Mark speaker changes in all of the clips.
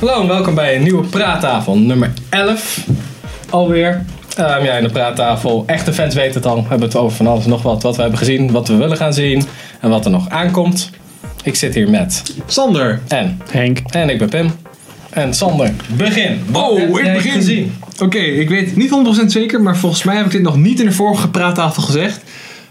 Speaker 1: Hallo en welkom bij een nieuwe praattafel, nummer 11 alweer. Ehm, ja, in de praattafel, echte fans weten het al, we hebben het over van alles en nog wat. Wat we hebben gezien, wat we willen gaan zien en wat er nog aankomt. Ik zit hier met
Speaker 2: Sander.
Speaker 1: en
Speaker 3: Henk.
Speaker 1: en ik ben Pim. En Sander, begin. Wat
Speaker 2: Oh,
Speaker 1: heb
Speaker 2: ik
Speaker 1: jij
Speaker 2: begin.
Speaker 1: gezien?
Speaker 2: Oké, ik weet het niet 100% zeker, maar volgens mij heb ik dit nog niet in de vorige praattafel gezegd.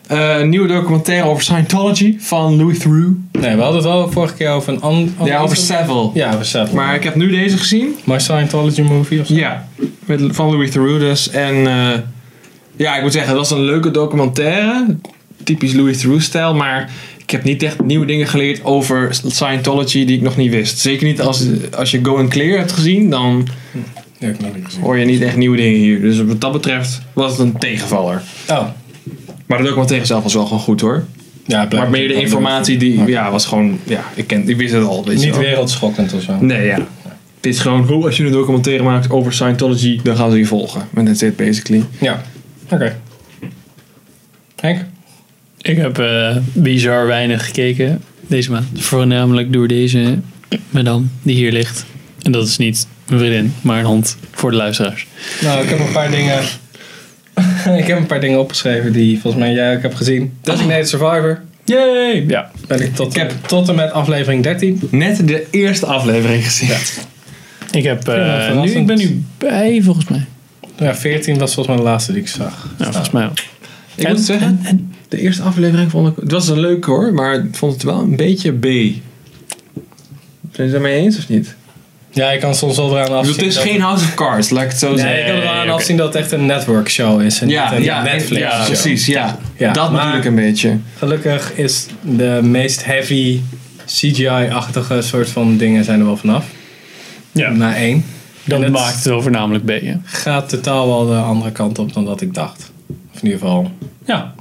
Speaker 2: Eh, een nieuwe documentaire over Scientology van Louis Theroux.
Speaker 1: Nee, we hadden het wel vorige keer over een an- an-
Speaker 2: Ja, over Savile.
Speaker 1: Oh, Ja, over Seth. Maar,
Speaker 2: Maar ik heb nu deze gezien.
Speaker 1: Scientology movie of zo?
Speaker 2: Ja, met, van Louis Theroux dus. En eh, ja, ik moet zeggen, het was een leuke documentaire. Typisch Louis Theroux-stijl, maar ik heb niet echt nieuwe dingen geleerd over Scientology die ik nog niet wist. Zeker niet als, als je Going Clear hebt gezien, dan
Speaker 1: Ja, ik heb nog niet gezien.
Speaker 2: hoor je niet echt nieuwe dingen hier. Dus wat dat betreft was het een tegenvaller.
Speaker 1: Oh,
Speaker 2: Maar de documentaire zelf was wel gewoon goed hoor.
Speaker 1: ja, blijkbaar.
Speaker 2: maar meer de informatie die, ja, was gewoon, ja, ik, ken, ik wist het al. Weet je
Speaker 1: Niet
Speaker 2: wel.
Speaker 1: wereldschokkend of zo.
Speaker 2: Nee, ja. Het is gewoon, oh, als je een documentaire maakt over Scientology, dan gaan ze je volgen. En that's it basically.
Speaker 1: Ja, oké. Henk?
Speaker 3: Ik heb eh, bizar weinig gekeken deze maand. Voornamelijk door deze madame die hier ligt. En dat is niet een vriendin, maar een hond voor de luisteraars.
Speaker 1: Nou, ik heb een paar dingen. ik heb een paar dingen opgeschreven die volgens mij jij ook hebt gezien. Designated Survivor.
Speaker 3: Yay! Ja.
Speaker 1: Ben ik tot,
Speaker 2: Ik heb-
Speaker 1: tot en met aflevering 13.
Speaker 2: Net de eerste aflevering gezien.
Speaker 3: Ik, heb, eh,
Speaker 1: Ja, verrassend.
Speaker 3: nu, ik ben nu bij, volgens mij.
Speaker 1: Ja, 14 was volgens mij de laatste die ik zag.
Speaker 3: Nou, volgens mij wel.
Speaker 2: Ik
Speaker 3: En-
Speaker 2: moet zeggen, de eerste aflevering vond ik, het was een leuk hoor, maar ik vond het wel een beetje B. Zijn ze het daarmee eens of niet?
Speaker 1: Ja, ik kan soms wel eraan
Speaker 2: Ik bedoel,
Speaker 1: afzien.
Speaker 2: het is
Speaker 1: dat-
Speaker 2: geen House of Cards, laat ik het zo
Speaker 1: Nee,
Speaker 2: zeggen.
Speaker 1: ik kan er wel aan
Speaker 3: oké.
Speaker 1: afzien dat het echt een network show is. En
Speaker 2: Ja,
Speaker 1: niet een
Speaker 2: ja,
Speaker 1: Netflix
Speaker 2: ja,
Speaker 1: show.
Speaker 2: precies, ja.
Speaker 1: Ja,
Speaker 2: dat
Speaker 1: maar-
Speaker 2: bedoel ik een beetje.
Speaker 1: Gelukkig is de meest heavy CGI-achtige soort van dingen zijn er wel vanaf.
Speaker 3: Ja,
Speaker 1: Na één.
Speaker 3: dat
Speaker 1: En het
Speaker 3: maakt het wel voornamelijk B. hè?
Speaker 1: Gaat totaal wel de andere kant op dan dat ik dacht. Of in ieder geval
Speaker 3: Ja.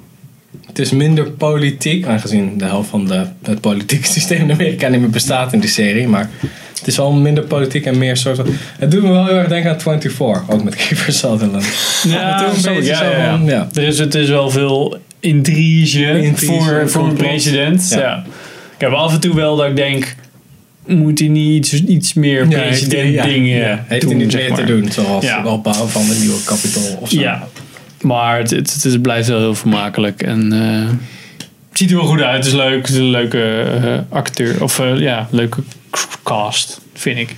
Speaker 1: Het is minder politiek, aangezien de helft van de, het politieke systeem in Amerika niet meer bestaat in die serie. Maar het is wel minder politiek en meer soort van... Het doet me wel heel erg denken aan 24, ook met Kiefer Sutherland.
Speaker 3: Ja,
Speaker 1: Het is een
Speaker 3: snap ik.
Speaker 1: beetje
Speaker 3: ja,
Speaker 1: zo
Speaker 3: ja, ja.
Speaker 1: van, ja.
Speaker 3: Er is, Dus het is wel veel intrige,
Speaker 1: Intrige,
Speaker 3: voor, voor een
Speaker 1: complot.
Speaker 3: president.
Speaker 1: Ja.
Speaker 3: Ja. Ik heb af en toe wel dat ik denk, moet hij niet iets, iets meer
Speaker 1: Ja, heeft hij-
Speaker 3: president
Speaker 1: ja,
Speaker 3: dingen
Speaker 1: ja. heeft
Speaker 3: doen,
Speaker 1: hij niet
Speaker 3: zeg
Speaker 1: meer
Speaker 3: maar.
Speaker 1: te doen, zoals
Speaker 3: Ja.
Speaker 1: de opbouw van de nieuwe kapitool of zo.
Speaker 3: Ja, maar het, het, het, is- blijft wel heel vermakelijk en... eh, het ziet er wel goed uit, het is leuk. Het is een leuke eh, acteur. Of eh, ja, leuke cast, vind ik.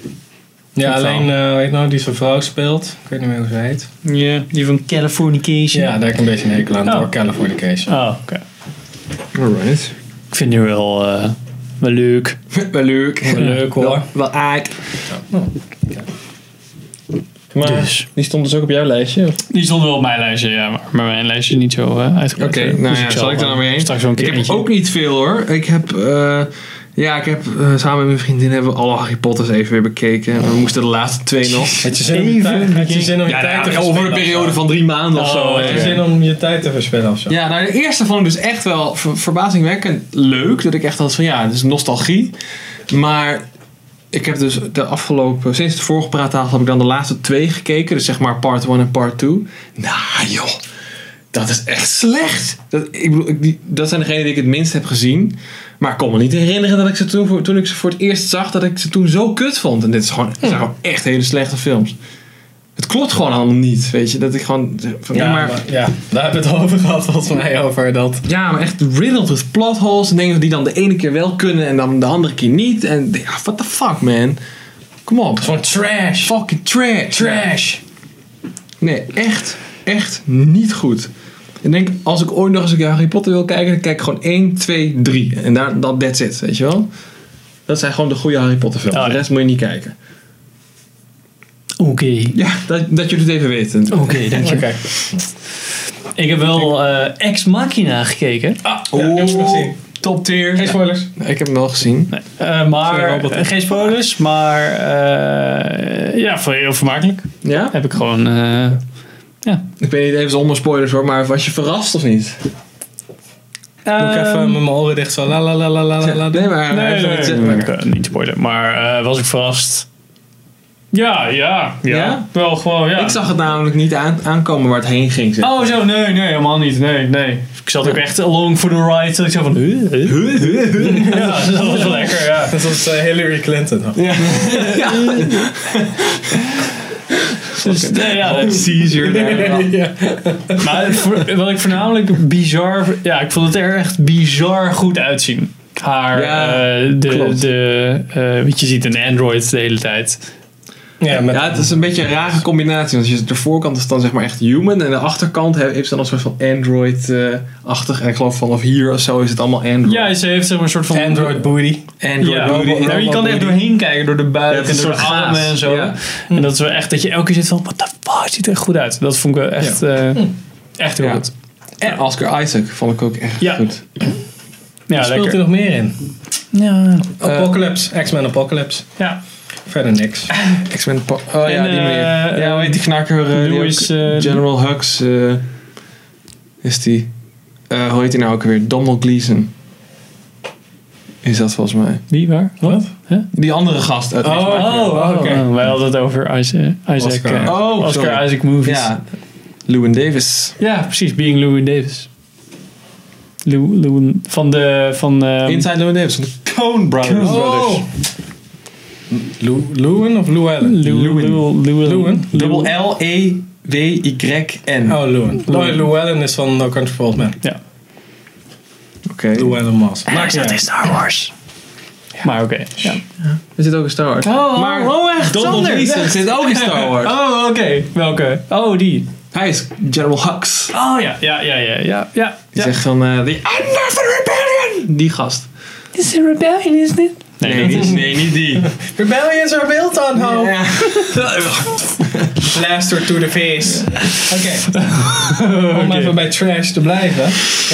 Speaker 1: Ja,
Speaker 3: Goed
Speaker 1: alleen, eh, weet je nou, die zijn vrouw speelt. Ik weet niet meer hoe ze heet.
Speaker 3: Ja, die van Californication.
Speaker 1: Ja, daar heb ik een beetje een hekel aan,
Speaker 3: Oh.
Speaker 1: door Californication.
Speaker 3: Oh, oké.
Speaker 2: Alright.
Speaker 3: Ik vind die wel, eh, wel leuk.
Speaker 2: Wel leuk.
Speaker 1: Wel Leuk hoor.
Speaker 2: Wel aak.
Speaker 1: Oh,
Speaker 2: Maar
Speaker 3: Dus.
Speaker 2: die stond dus ook op jouw lijstje? of?
Speaker 3: Die stond wel op mijn lijstje, ja, maar maar mijn lijstje is niet zo eh uitgebreid.
Speaker 2: Oké,
Speaker 3: eh,
Speaker 2: nou
Speaker 3: dus
Speaker 2: ja, zal ik daar nou
Speaker 3: eh,
Speaker 2: mee heen?
Speaker 3: Straks wel een
Speaker 2: Ik
Speaker 3: keer
Speaker 2: heb
Speaker 3: eentje.
Speaker 2: ook niet veel hoor. Ik heb, eh, ja, ik heb eh, samen met mijn vriendin hebben we alle Harry Potters even weer bekeken. We moesten de laatste twee nog.
Speaker 1: Had je zin om je tijd, had je zin om je
Speaker 2: Ja,
Speaker 1: tijd
Speaker 2: nou
Speaker 1: te
Speaker 2: ja, over een
Speaker 1: verspillen
Speaker 2: periode
Speaker 1: of zo?
Speaker 2: van drie maanden of
Speaker 3: Oh,
Speaker 2: zo. eh.
Speaker 3: ja.
Speaker 2: hè.
Speaker 1: Had je zin om je tijd te verspillen of zo?
Speaker 2: Ja, nou de eerste vond ik dus echt wel ver- verbazingwekkend leuk. Dat ik echt had van ja, het is nostalgie. Maar ik heb dus de afgelopen, sinds de vorige praattafel heb ik dan de laatste twee gekeken. Dus zeg maar part 1 en part 2. Nou joh, dat is echt slecht. Dat, ik bedoel, ik, die, dat zijn degenen die ik het minst heb gezien. Maar ik kon me niet herinneren dat ik ze toen, voor- toen ik ze voor het eerst zag, dat ik ze toen zo kut vond. En dit is gewoon, het zijn gewoon echt hele slechte films. Het klopt gewoon allemaal niet, weet je. Dat ik gewoon... Van,
Speaker 1: Ja,
Speaker 2: ja,
Speaker 1: maar, ja, daar hebben we het over gehad, volgens mij, over dat.
Speaker 2: Ja, maar echt riddled with plot holes. En dingen die dan de ene keer wel kunnen en dan de andere keer niet. En ja, what the fuck, man. Kom op.
Speaker 1: Gewoon trash.
Speaker 2: Fucking trash.
Speaker 1: Trash.
Speaker 2: Nee, echt, echt niet goed. Ik denk, als ik ooit nog eens een keer Harry Potter wil kijken, dan kijk ik gewoon 1, 2, 3. En daar, dat, that's it, weet je wel? Dat zijn gewoon de goede Harry Potter films.
Speaker 1: Oh,
Speaker 3: Ja.
Speaker 2: De rest moet je niet kijken.
Speaker 3: Oké.
Speaker 2: Ja, dat, dat jullie het even weten.
Speaker 1: Oh.
Speaker 3: Oké, dank
Speaker 1: Oké.
Speaker 3: je. Ik heb wel eh, Ex Machina gekeken.
Speaker 1: Ah, ja, ik heb het gezien.
Speaker 3: Top tier.
Speaker 1: Geen spoilers.
Speaker 2: Ik heb hem wel gezien.
Speaker 3: Nee, eh,
Speaker 1: Sorry,
Speaker 3: maar
Speaker 1: Robert.
Speaker 3: eh, geen spoilers, maar eh, ja, voor heel vermakelijk.
Speaker 2: Ja?
Speaker 3: Heb ik gewoon. eh,
Speaker 2: Ik weet niet even zonder spoilers hoor, maar was je verrast of niet?
Speaker 1: Doe ik even met mijn oren dicht zo. La la la la la la. la.
Speaker 2: Nee, maar...
Speaker 3: Ehm, Nee,
Speaker 2: hij heeft
Speaker 3: nee,
Speaker 2: wel iets-
Speaker 3: nee, ik, eh, niet spoiler. Maar eh, was ik verrast? Ja, ja, ja.
Speaker 2: Ja?
Speaker 3: Wel gewoon, ja.
Speaker 2: Ik zag het namelijk niet aan, aankomen waar het heen ging. zeg.
Speaker 3: Oh zo, nee, nee, helemaal niet. Nee, nee. Ik zat ook echt along for the ride. zat Ik zo van, huh, huh? Ja, dat was wel lekker, ja.
Speaker 1: Dat was eh, Hillary Clinton.
Speaker 2: Ja. ja.
Speaker 3: Dus, nee, ja, dat is Caesar. daar.
Speaker 1: Ja.
Speaker 3: Maar voor- wat ik voornamelijk bizar... Ja, ik vond het er echt bizar goed uitzien. Haar,
Speaker 2: Ja,
Speaker 3: eh, de...
Speaker 2: klopt.
Speaker 3: de eh, want je ziet een android de hele tijd.
Speaker 1: Ja, met,
Speaker 2: Ja, het is een beetje een rare combinatie. Want je, de voorkant is dan zeg maar echt human. En de achterkant he- heeft ze dan een soort van Android-achtig. en ik geloof vanaf hier of zo is het allemaal Android.
Speaker 3: Ja, ze heeft zeg maar een soort van...
Speaker 1: Android booty.
Speaker 2: Android.
Speaker 3: ja,
Speaker 2: booty,
Speaker 3: nou, je
Speaker 2: Android
Speaker 3: kan er
Speaker 2: booty.
Speaker 3: echt doorheen kijken, door de
Speaker 2: Ja,
Speaker 3: buik
Speaker 2: het
Speaker 3: en
Speaker 2: is
Speaker 3: door
Speaker 2: een
Speaker 3: de
Speaker 2: soort
Speaker 3: armen
Speaker 2: gaas,
Speaker 3: en zo.
Speaker 2: ja.
Speaker 3: En dat is wel echt dat je elke keer zit van, what the fuck, ziet er echt goed uit. Dat vond ik wel echt, eh, echt heel
Speaker 2: Ja.
Speaker 3: goed.
Speaker 2: En Oscar Isaac vond ik ook echt
Speaker 3: Ja.
Speaker 2: goed.
Speaker 3: Ja,
Speaker 1: Daar speelt
Speaker 3: lekker.
Speaker 1: er nog meer in.
Speaker 3: Ja.
Speaker 1: Apocalypse, X-Men Apocalypse.
Speaker 3: ja.
Speaker 1: Verder niks.
Speaker 2: X-Men. pa- Oh ja,
Speaker 3: En,
Speaker 2: die
Speaker 3: eh,
Speaker 2: meer. Ja, hoe heet die knakker? eh, die
Speaker 3: Louis,
Speaker 2: ook-
Speaker 3: eh,
Speaker 2: General Hux. eh, is die. Eh, hoe heet die nou ook weer? Donald Gleason. Is dat volgens mij.
Speaker 3: Wie, waar? Wat?
Speaker 2: Die andere gast. uit
Speaker 1: Oh,
Speaker 2: X-Men.
Speaker 1: oh, oké.
Speaker 3: Oh, wij hadden het over Isaac, Isaac,
Speaker 1: Oscar.
Speaker 3: eh,
Speaker 2: Oh,
Speaker 3: Oscar
Speaker 2: sorry.
Speaker 3: Isaac movies.
Speaker 2: Ja. Lewin Davis.
Speaker 3: Ja, precies. Being Llewyn Davis. Lew, Llewyn- van de... Van, ehm,
Speaker 2: Inside Lewin Davis. van de Coen Brothers.
Speaker 1: Oh! Lou- Lewin of Llewellyn?
Speaker 3: Lew-
Speaker 2: Llewyn.
Speaker 3: Lew- Llewyn-
Speaker 1: Llewyn?
Speaker 3: Llew-
Speaker 2: Dubbel
Speaker 3: E,
Speaker 2: L-E-W-Y-N.
Speaker 1: Oh, Lewin. Oh, Llewellyn is van No Country for Old Men.
Speaker 3: Ja.
Speaker 2: Oké.
Speaker 1: Llewellyn Moss.
Speaker 3: Maar dat is Star Wars. Maar oké. ja.
Speaker 2: Er zit ook een Star Wars.
Speaker 3: Oh,
Speaker 2: maar
Speaker 3: oh, echt,
Speaker 2: Donald
Speaker 3: Sander,
Speaker 2: Gleason
Speaker 3: echt.
Speaker 2: zit ook in Star Wars.
Speaker 3: Oh, oké. Welke? Oh, die.
Speaker 2: Hij is General Hux.
Speaker 3: Oh ja, ja, ja, ja, ja. ja,
Speaker 2: Die
Speaker 3: ja.
Speaker 2: zegt van... eh, the end of the rebellion! Die gast.
Speaker 3: is een rebellion, is dit? Nee,
Speaker 2: Nee,
Speaker 3: dat
Speaker 2: die-
Speaker 3: is
Speaker 2: nee, niet die.
Speaker 1: Rebellions are built on hope.
Speaker 2: Ja.
Speaker 1: Blaster to the face. Oké. Om even bij trash te blijven.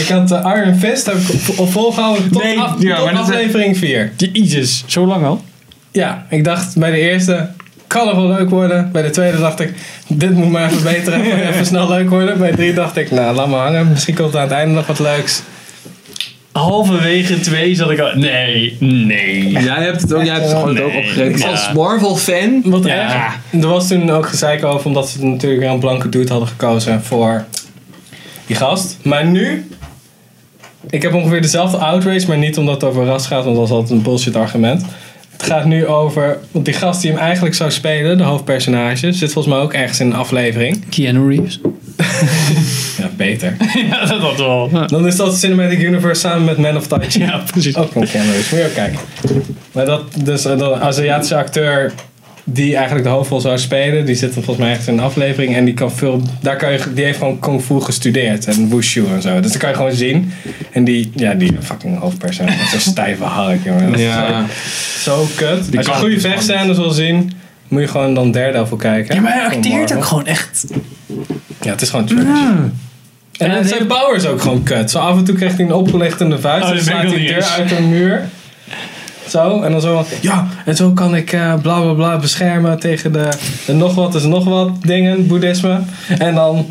Speaker 1: Ik had de Iron Fist heb ik op volgehouden tot,
Speaker 2: Nee,
Speaker 1: af-
Speaker 2: ja,
Speaker 1: tot
Speaker 2: maar dat is-
Speaker 1: aflevering 4.
Speaker 3: Jezus, zo lang al?
Speaker 1: Ja, ik dacht bij de eerste kan het wel leuk worden. Bij de tweede dacht ik, dit moet maar even beter even, even snel leuk worden. Bij drie dacht ik, nou laat maar hangen. Misschien komt er aan het einde nog wat leuks.
Speaker 3: Halverwege twee zat ik al... Nee, nee.
Speaker 2: Jij hebt het ook, jij hebt het gewoon
Speaker 3: Nee.
Speaker 2: ook opgegeven.
Speaker 3: Ja.
Speaker 2: Als Marvel-fan...
Speaker 1: Wat
Speaker 3: Ja.
Speaker 1: erg. Er was toen ook gezeik over, omdat ze natuurlijk een blanke dude hadden gekozen voor die gast. Maar nu, ik heb ongeveer dezelfde outrage, maar niet omdat het over ras gaat, want dat is altijd een bullshit argument. Het gaat nu over, want die gast die hem eigenlijk zou spelen, de hoofdpersonage, zit volgens mij ook ergens in een aflevering.
Speaker 3: Keanu Reeves.
Speaker 1: Ja, beter.
Speaker 3: ja, dat had wel.
Speaker 1: Dan is dat Cinematic Universe samen met Man of Tai Chi.
Speaker 3: Ja, precies.
Speaker 1: Ook van Keanu Reeves, moet je ook kijken. Maar dat, dus eh, de Aziatische acteur die eigenlijk de hoofdrol zou spelen, die zit dan volgens mij echt in een aflevering en die kan veel, daar kan je, die heeft gewoon kung fu gestudeerd en wushu en zo. Dus dat kan je gewoon zien. En die, ja, die fucking hoofdpersoon met zo'n stijve hark, jongen. Dat is
Speaker 2: Ja.
Speaker 1: Zo kut. Als je
Speaker 3: kan-
Speaker 1: goede vechtscènes wil zien, moet je gewoon dan derde over kijken.
Speaker 3: Ja, maar hij
Speaker 1: Van
Speaker 3: acteert
Speaker 1: Marvel.
Speaker 3: ook gewoon echt.
Speaker 1: Ja, het is gewoon trash. En,
Speaker 3: En
Speaker 1: dan
Speaker 3: het
Speaker 1: zijn
Speaker 3: heeft-
Speaker 1: powers ook gewoon kut. Zo af en toe kreeg hij een opgelichtende vuist.
Speaker 3: Oh,
Speaker 1: en
Speaker 3: dat ben ik
Speaker 1: slaat die
Speaker 3: wel niet
Speaker 1: deur
Speaker 3: eens.
Speaker 1: uit een muur. Zo, en dan zo van, ja, en zo kan ik eh, bla bla bla beschermen tegen de, de nog wat is nog wat dingen, boeddhisme. En dan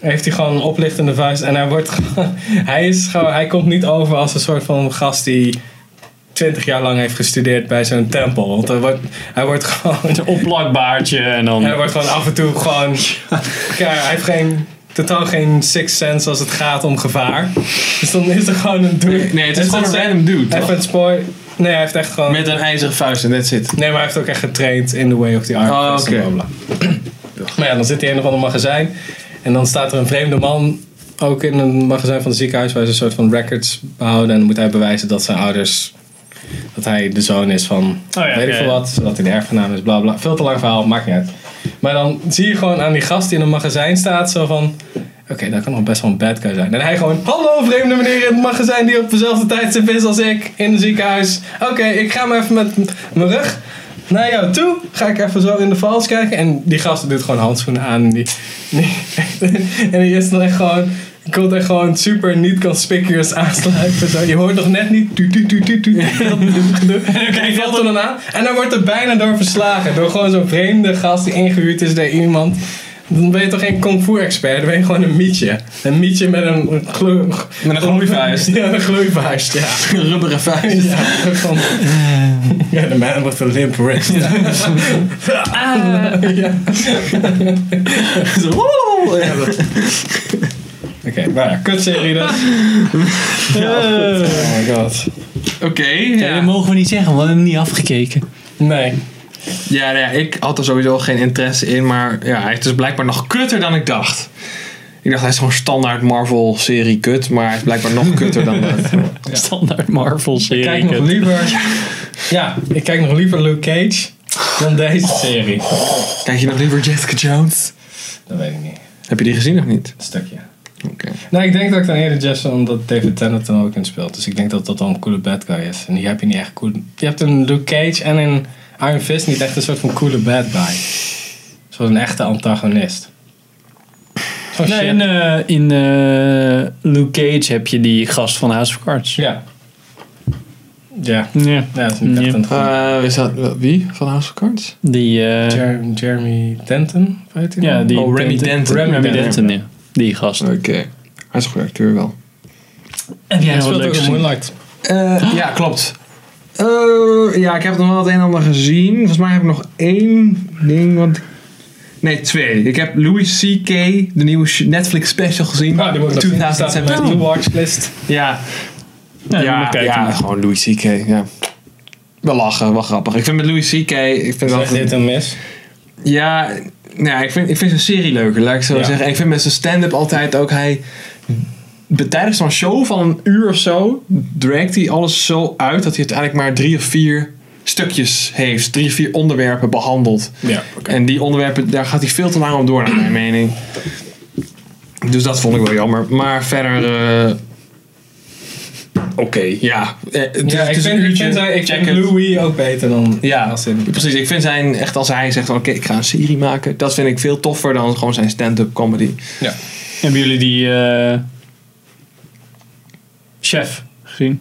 Speaker 1: heeft hij gewoon een oplichtende vuist en hij wordt gewoon- hij is gewoon, hij komt niet over als een soort van gast die 20 jaar lang heeft gestudeerd bij zo'n tempel. Want hij wordt, hij wordt gewoon
Speaker 3: Een opplakbaardje en
Speaker 1: hij
Speaker 3: dan...
Speaker 1: wordt gewoon af en toe gewoon. Ja, hij heeft geen, totaal geen sixth sense als het gaat om gevaar. Dus dan is er gewoon een doel.
Speaker 2: Nee, het is gewoon een random dude.
Speaker 1: Even
Speaker 2: toch?
Speaker 1: een spoor. Nee, hij heeft echt gewoon.
Speaker 2: Met een ijzeren vuist en that's it.
Speaker 1: Nee, maar hij heeft ook echt getraind in the way of the arm.
Speaker 2: Oh,
Speaker 1: Dus
Speaker 2: oké.
Speaker 1: bla, bla, bla. Maar ja, dan zit hij in een of ander magazijn. En dan staat er een vreemde man. Ook in een magazijn van het ziekenhuis waar ze een soort van records behouden. En dan moet hij bewijzen dat zijn ouders. dat hij de zoon is van.
Speaker 3: Oh ja,
Speaker 1: weet ik
Speaker 3: ja,
Speaker 1: veel
Speaker 3: ja.
Speaker 1: wat. Zodat hij de erfgenaam is, bla bla. Veel te lang verhaal, maakt niet uit. Maar dan zie je gewoon aan die gast die in een magazijn staat. zo van. Oké, dat kan nog best wel een bad guy zijn. En hij gewoon, hallo vreemde meneer in het magazijn die op dezelfde tijdstip is als ik in het ziekenhuis. Oké, ik ga maar even met m- mijn rug naar jou toe. Ga ik even zo in de vals kijken. En die gast doet gewoon handschoenen aan. En die, die- en die is dan echt gewoon, komt echt gewoon super niet conspicuous aansluiten. Zo. Je hoort nog net niet tu tu tu tu tu. dat gedoe. En die valt er dan aan. En dan wordt er bijna door verslagen. Door gewoon zo'n vreemde gast die ingehuurd is door iemand. Dan ben je toch geen kung fu expert, dan ben je gewoon een mietje. Een mietje met een gleur...
Speaker 2: Met een gloeivuist.
Speaker 1: Ja, een gloeivuist, ja.
Speaker 2: Rubberen vuist.
Speaker 1: Ja, van... Ja, the man with the limp wrist. Ah. Ja.
Speaker 2: Zo, woe! Ja, dat-
Speaker 1: Oké, maar ja, kutserie dus.
Speaker 3: Eh,
Speaker 1: Oh my god.
Speaker 2: Oké,
Speaker 3: Ja, dat
Speaker 2: ja.
Speaker 3: mogen we niet zeggen, want we hebben hem niet afgekeken.
Speaker 1: Nee.
Speaker 2: Ja, nou ja, ik had er sowieso geen interesse in, maar ja, hij is dus blijkbaar nog kutter dan ik dacht. Ik dacht, hij is gewoon standaard Marvel-serie kut, maar hij is blijkbaar nog kutter dan dat.
Speaker 3: Standaard Marvel-serie.
Speaker 1: Ik kijk nog liever... Ja, ik kijk nog liever Luke Cage dan deze
Speaker 3: Oh.
Speaker 1: serie.
Speaker 2: Kijk je nog liever Jessica Jones?
Speaker 1: Dat weet ik niet.
Speaker 2: Heb je die gezien of niet?
Speaker 1: Een stukje.
Speaker 2: Oké.
Speaker 1: Nou, ik denk dat ik dan eerder Jess omdat David Tennant er ook in speelt. Dus ik denk dat dat dan een coole bad guy is. En die heb je niet echt cool. Je hebt een Luke Cage en een Iron Fist niet echt een soort van coole bad guy. Zoals een echte antagonist. Zo'n
Speaker 3: Nee,
Speaker 1: shit.
Speaker 3: in, eh, in eh, Luke Cage heb je die gast van House of Cards.
Speaker 1: Ja. Ja.
Speaker 3: Ja.
Speaker 1: Ja, dat is niet echt
Speaker 3: Ja.
Speaker 1: een goede.
Speaker 2: Eh, is dat eh, wie van House of Cards?
Speaker 3: Die, eh,
Speaker 1: Jer- Jeremy Denton, weet je
Speaker 3: ja, die
Speaker 2: Oh, Remy Denton.
Speaker 3: Remy,
Speaker 1: Remy
Speaker 3: Denton,
Speaker 1: Denton,
Speaker 3: ja. Die gast.
Speaker 2: Oké. Hij is een goede acteur wel.
Speaker 3: Heb jij
Speaker 1: Hij
Speaker 3: nog wat
Speaker 1: speelt ook
Speaker 3: leuks
Speaker 1: in
Speaker 3: gezien?
Speaker 1: Moonlight.
Speaker 2: ja, klopt. Eh, ja, ik heb nog wel het een en ander gezien. Volgens mij heb ik nog één ding. Want... Nee, twee. Ik heb Louis C.K., de nieuwe sh- Netflix special gezien.
Speaker 1: Ah, die moet ik nog zien. Die staat op mijn
Speaker 2: 2017.
Speaker 1: to-watch-list.
Speaker 2: Ja,
Speaker 3: Ja, dan moet ik kijken.
Speaker 2: gewoon Louis C.K. Ja. Wel lachen, wel grappig. Ik vind met Louis C.K. Ik vind wel
Speaker 1: Zeg dit een mis.
Speaker 2: Ja, nou ja, ik vind, ik vind zijn serie leuker, laat ik zo
Speaker 1: Ja.
Speaker 2: zeggen. Ik vind met zijn stand-up altijd ook, hij... be- Tijdens zo'n show van een uur of zo, draagt hij alles zo uit dat hij uiteindelijk maar drie of vier stukjes heeft. Drie of vier onderwerpen behandelt.
Speaker 1: Ja,
Speaker 2: En die onderwerpen, daar gaat hij veel te lang om door, naar mijn mening. Dus dat vond ik wel jammer. Maar verder... eh, Oké, ja. Eh, het is-
Speaker 1: Ja, ik
Speaker 2: het is een
Speaker 1: vind, ik
Speaker 2: uurtje.
Speaker 1: vind, zijn- ik
Speaker 2: Check
Speaker 1: vind
Speaker 2: it.
Speaker 1: Louis ook beter dan
Speaker 2: Ja,
Speaker 1: als in
Speaker 2: precies. Ik vind zijn, echt als hij zegt van oké, ik ga een serie maken. Dat vind ik veel toffer dan gewoon zijn stand-up comedy.
Speaker 3: Hebben jullie die eh, chef gezien?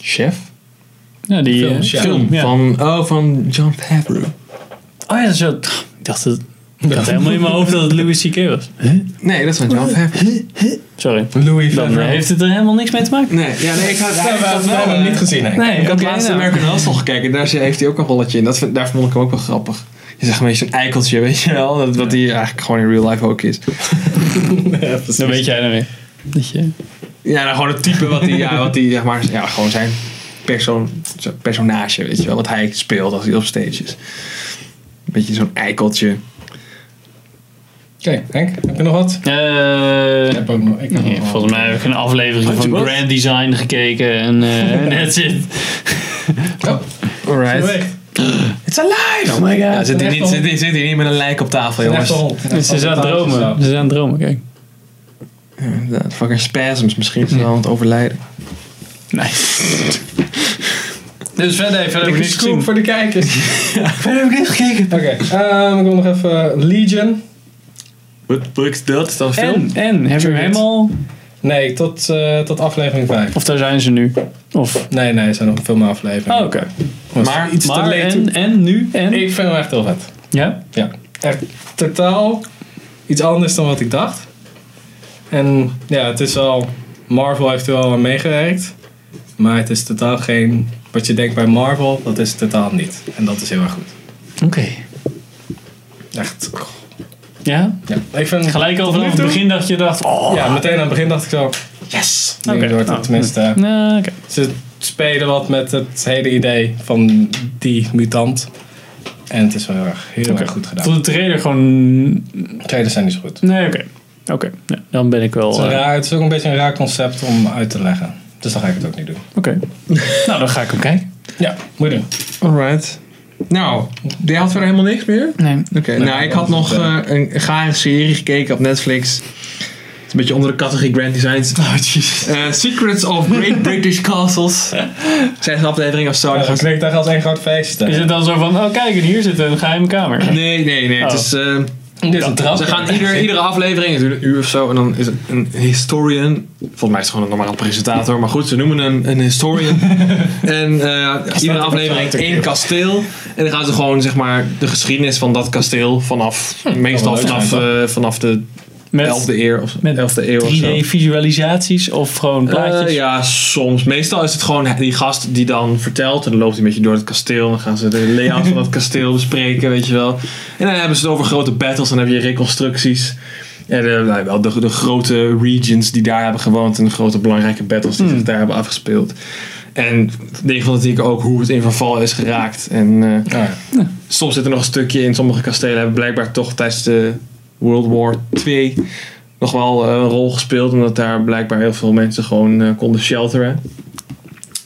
Speaker 2: Chef?
Speaker 3: Ja, die
Speaker 1: Film,
Speaker 3: eh,
Speaker 1: Chef.
Speaker 3: film, ja.
Speaker 2: Van, oh, van John Favreau.
Speaker 3: Oh ja, dat is wel- Ik dacht, dat, ik had helemaal in mijn hoofd dat het Louis C.K. was.
Speaker 2: Nee, dat is van John
Speaker 1: Oh.
Speaker 2: Favreau.
Speaker 3: Sorry.
Speaker 1: Louis
Speaker 3: Dan eh,
Speaker 1: Favreau.
Speaker 3: heeft het er helemaal niks mee te maken.
Speaker 2: Nee, ja, nee, ik had eh,
Speaker 1: Ja, we hebben hem niet gezien, hè?
Speaker 3: Nee,
Speaker 2: Ik had
Speaker 3: oké,
Speaker 2: laatst
Speaker 3: nou.
Speaker 2: American Hustle gekeken. Daar heeft hij ook een rolletje in. Dat vind, daar vond ik hem ook wel grappig. Je zegt een beetje zo'n eikeltje, weet je wel. Dat, wat hij eigenlijk gewoon in real life ook is.
Speaker 3: Dan weet jij nou weer. Dat je-
Speaker 2: Ja, nou, gewoon het type wat hij, ja, wat hij zeg maar, ja, gewoon zijn persoon, zijn personage, weet je wel, wat hij speelt als hij op stage is. Beetje zo'n eikeltje.
Speaker 1: Oké, Henk, heb je nog wat? Ik
Speaker 3: Eh,
Speaker 1: heb ook nog. Ik heb
Speaker 3: ja,
Speaker 1: nog
Speaker 3: volgens mij heb ik een aflevering
Speaker 2: Had je
Speaker 3: van
Speaker 2: wat?
Speaker 3: Grand Design gekeken en eh that's it.
Speaker 2: Alright. It's alive!
Speaker 3: my god.
Speaker 2: Ja, Oh
Speaker 1: een
Speaker 2: zit, hier niet,
Speaker 1: echte
Speaker 2: zit, hier- zit hier niet met een lijk op tafel, jongens.
Speaker 1: Echt hond.
Speaker 3: Ze zijn aan het dromen. Ze zijn aan het dromen, kijk.
Speaker 2: Ja, inderdaad. fucking spasms, misschien is hij aan het overlijden.
Speaker 3: Nice.
Speaker 1: Dus verder even
Speaker 3: heb ik
Speaker 1: een
Speaker 3: niks
Speaker 1: scoop
Speaker 3: gezien.
Speaker 1: voor de kijkers.
Speaker 2: Waar heb ik niet gekeken?
Speaker 1: Oké, ehm, ik wil nog even Legion.
Speaker 2: Wat wat is dat? Is dat een film?
Speaker 3: En, en, hebben we
Speaker 1: True Grit.
Speaker 3: helemaal...
Speaker 1: Nee, tot, eh, tot aflevering 5.
Speaker 3: Of daar zijn ze nu. Of...
Speaker 1: Nee, nee, er zijn nog veel meer afleveringen.
Speaker 3: Oh, oké.
Speaker 2: Maar
Speaker 1: iets te
Speaker 3: Maar,
Speaker 1: leed.
Speaker 3: en, en, nu, en...
Speaker 1: Ik vind hem echt heel vet.
Speaker 3: Ja?
Speaker 1: Ja, echt totaal iets anders dan wat ik dacht. En ja, het is al. Marvel heeft er wel aan meegewerkt. Maar het is totaal geen. Wat je denkt bij Marvel, dat is het totaal niet. En dat is heel erg goed.
Speaker 3: Oké.
Speaker 1: Echt.
Speaker 3: Ja?
Speaker 1: Ja, ik vind
Speaker 3: Gelijk al
Speaker 1: tot nu
Speaker 3: vanaf het
Speaker 1: toe-
Speaker 3: begin dacht je dacht... Oh.
Speaker 1: Ja, meteen aan het begin dacht ik zo.
Speaker 2: Yes!
Speaker 1: Nee,
Speaker 3: Oké.
Speaker 1: door het
Speaker 3: Oh.
Speaker 1: tenminste. eh,
Speaker 3: Nou, oké.
Speaker 1: Ze spelen wat met het hele idee van die mutant. En het is wel heel erg, heel
Speaker 3: Oké.
Speaker 1: erg goed
Speaker 3: Ik
Speaker 1: gedaan.
Speaker 3: vond de trailer gewoon
Speaker 1: Trailers zijn niet zo goed.
Speaker 3: Nee, oké. Oké, ja, dan ben ik
Speaker 1: Het
Speaker 3: wel...
Speaker 1: is, een
Speaker 3: eh,
Speaker 1: raar, het is ook een beetje een raar concept om uit te leggen. Dus dan ga ik het ook niet doen.
Speaker 3: oké. nou, dan ga ik hem kijken.
Speaker 1: Ja, moet je doen.
Speaker 2: Alright. Nou, jij had verder helemaal niks meer?
Speaker 3: Nee.
Speaker 2: Oké, nou
Speaker 1: maar
Speaker 2: ik
Speaker 1: dat
Speaker 2: had
Speaker 1: is
Speaker 2: nog
Speaker 1: het,
Speaker 2: eh, een gare serie gekeken op Netflix. Het is een beetje onder de categorie Grand Designs. Eh, Secrets of Great British Castles. Zijn ze een aflevering of zo?
Speaker 1: Maar Oh, dat klinkt echt als één groot feest.
Speaker 3: Is
Speaker 1: hè?
Speaker 3: het dan zo van, oh kijk, en hier zit een geheime kamer.
Speaker 2: Nee, nee, nee. Het
Speaker 3: Oh.
Speaker 2: is eh,
Speaker 1: Dit is een trap.
Speaker 2: Ze gaan ieder, iedere aflevering, het duurt een uur of zo, en dan is het een historian. Volgens mij is het gewoon een normale presentator, maar goed, ze noemen hem een historian. en eh, iedere aflevering heeft één kasteel. En dan gaan ze gewoon, zeg maar, de geschiedenis van dat kasteel vanaf, meestal
Speaker 1: leuk
Speaker 2: vanaf,
Speaker 1: zijn,
Speaker 2: eh, vanaf de
Speaker 3: Met
Speaker 2: 11e eeuw of zo.
Speaker 3: met
Speaker 2: 11e eeuw of zo.
Speaker 3: 3D-visualisaties of gewoon plaatjes?
Speaker 2: Eh, ja, soms. Meestal is het gewoon die gast die dan vertelt. En dan loopt hij met je door het kasteel. En dan gaan ze de layout van dat kasteel bespreken, weet je wel. En dan hebben ze het over grote battles. En dan heb je reconstructies. En de, nou, wel, de, de grote regions die daar hebben gewoond. En de grote belangrijke battles die zich daar hebben afgespeeld. En 9 van de 10 keer ook hoe het in verval is geraakt. En eh,
Speaker 1: Ja.
Speaker 2: soms zit er nog een stukje in. Sommige kastelen hebben blijkbaar toch tijdens de World War II nog wel eh, een rol gespeeld. Omdat daar blijkbaar heel veel mensen gewoon eh, konden shelteren.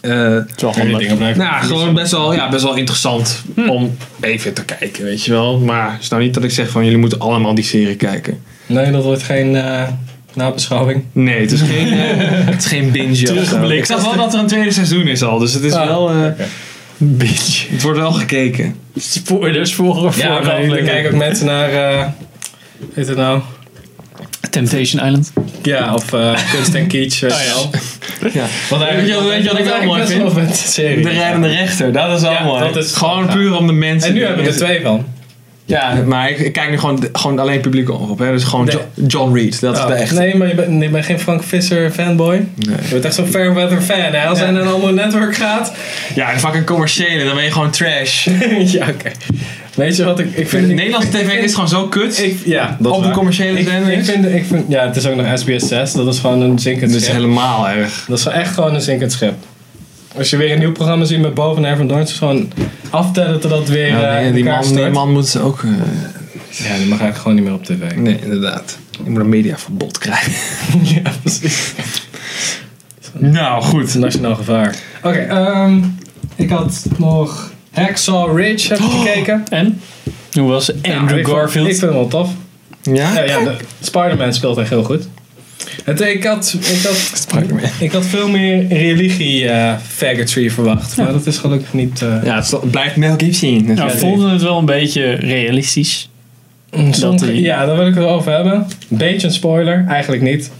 Speaker 2: Eh
Speaker 3: Het is wel
Speaker 1: Die
Speaker 3: handig.
Speaker 1: dingen blijven.
Speaker 2: nou, ja, gewoon best wel, ja, best wel interessant om even te kijken, weet je wel. Maar het is nou niet dat ik zeg van jullie moeten allemaal die serie kijken.
Speaker 1: Nee, dat wordt geen eh, nabeschouwing.
Speaker 2: Nee, het is geen, eh, het is geen binge. of zo.
Speaker 3: Terugblik.
Speaker 2: Ik zag wel dat er een tweede seizoen is al, dus het is
Speaker 1: Ah.
Speaker 2: wel, eh,
Speaker 3: Bitch.
Speaker 2: het wordt wel gekeken.
Speaker 3: Spoilers volgen voor
Speaker 1: Ja, maar jullie kijken ook mensen naar. eh heet het nou?
Speaker 3: Temptation Island.
Speaker 1: Ja, of eh, Kunst en Kitsch. weet
Speaker 3: Ah,
Speaker 1: je
Speaker 3: ja.
Speaker 1: wel.
Speaker 2: Oh, Ja.
Speaker 1: Want
Speaker 2: Weet je wat- weet je wat ik wel mooi vind?
Speaker 1: Met serie.
Speaker 2: De rijdende rechter, dat is wel
Speaker 1: Ja,
Speaker 2: mooi.
Speaker 1: dat is-
Speaker 2: gewoon
Speaker 1: ja.
Speaker 2: puur om de mensen.
Speaker 1: En nu
Speaker 2: die-
Speaker 1: hebben we er twee van.
Speaker 2: Ja, Eh, maar ik, ik kijk nu gewoon, gewoon alleen publiek omroep. Hè? Dus gewoon
Speaker 1: Nee.
Speaker 2: Jo- John Reed, dat is
Speaker 1: Oh,
Speaker 2: de echte.
Speaker 1: Nee, maar je bent, je bent geen Frank Visser fanboy.
Speaker 2: Nee.
Speaker 1: Je bent echt zo'n fair weather fan. Hè? Als hij naar een ander netwerk gaat.
Speaker 2: Ja, en fucking commerciële, dan ben je gewoon trash.
Speaker 1: ja, oké. Weet je wat ik, ik vind?
Speaker 2: Nederlandse tv
Speaker 1: vind-
Speaker 2: is gewoon zo kut.
Speaker 1: Ik, ja, dat is
Speaker 2: op een
Speaker 1: waar.
Speaker 2: commerciële
Speaker 1: ik,
Speaker 2: zender.
Speaker 1: ik vind, ik vind, ja, het is ook nog SBS 6. Dat is gewoon een zinkend
Speaker 2: dat is
Speaker 1: schip.
Speaker 2: helemaal erg.
Speaker 1: Dat is wel echt gewoon een zinkend schip. Als je weer een nieuw programma ziet met boven en van Dorns, gewoon aftellen totdat het weer eh, in
Speaker 2: die,
Speaker 1: elkaar
Speaker 2: man, die
Speaker 1: stort.
Speaker 2: man moet ze ook. eh,
Speaker 1: Ja, die mag eigenlijk gewoon niet meer op tv.
Speaker 2: nee, inderdaad. Je moet een mediaverbod krijgen.
Speaker 1: ja, precies.
Speaker 2: Nou,
Speaker 1: Het is
Speaker 2: goed.
Speaker 1: een nationaal gevaar. Oké, ehm, ik had nog Hacksaw Ridge heb ik
Speaker 2: Oh,
Speaker 1: gekeken.
Speaker 3: En? Hoe was
Speaker 1: Ja,
Speaker 3: Andrew
Speaker 1: Nou, ik vond-
Speaker 3: Garfield?
Speaker 1: Ik vind hem wel tof.
Speaker 2: Ja?
Speaker 1: Ja, ja, de- Spider-Man speelt echt heel goed. Het, ik, had, ik, had,
Speaker 2: Spider-Man.
Speaker 1: ik had veel meer religie-faggotry verwacht. Maar dat is gelukkig niet... eh,
Speaker 2: Ja, het is- het blijft Mel Gibson.
Speaker 3: nou,
Speaker 1: Ja,
Speaker 3: vonden het wel een beetje realistisch.
Speaker 1: Sommige-
Speaker 3: Dat die-
Speaker 1: ja, daar wil ik het wel over hebben. Een beetje een spoiler, eigenlijk niet.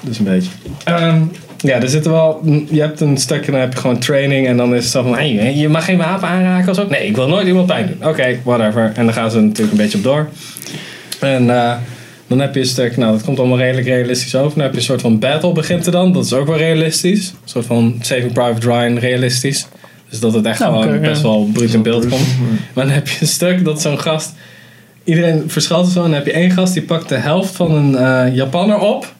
Speaker 1: Dus een beetje. Ehm, ja, er zitten wel. mm, Je hebt een stukje, dan heb je gewoon training. En dan is het zo van: hey, je mag geen wapen aanraken of zo. Nee, ik wil nooit iemand pijn doen. Oké, whatever. En dan gaan ze er natuurlijk een beetje op door. En eh, dan heb je een stuk, nou dat komt allemaal redelijk realistisch over. Dan heb je een soort van battle begint er dan. Dat is ook wel realistisch. Een soort van Saving Private Ryan realistisch. Dus dat het echt
Speaker 3: Nou,
Speaker 1: gewoon
Speaker 3: oké, ja.
Speaker 1: best wel bruut in beeld komt. Maar dan heb je een stuk dat zo'n gast... Iedereen verschilt zo. En dan heb je één gast die pakt de helft van een eh, Japanner op.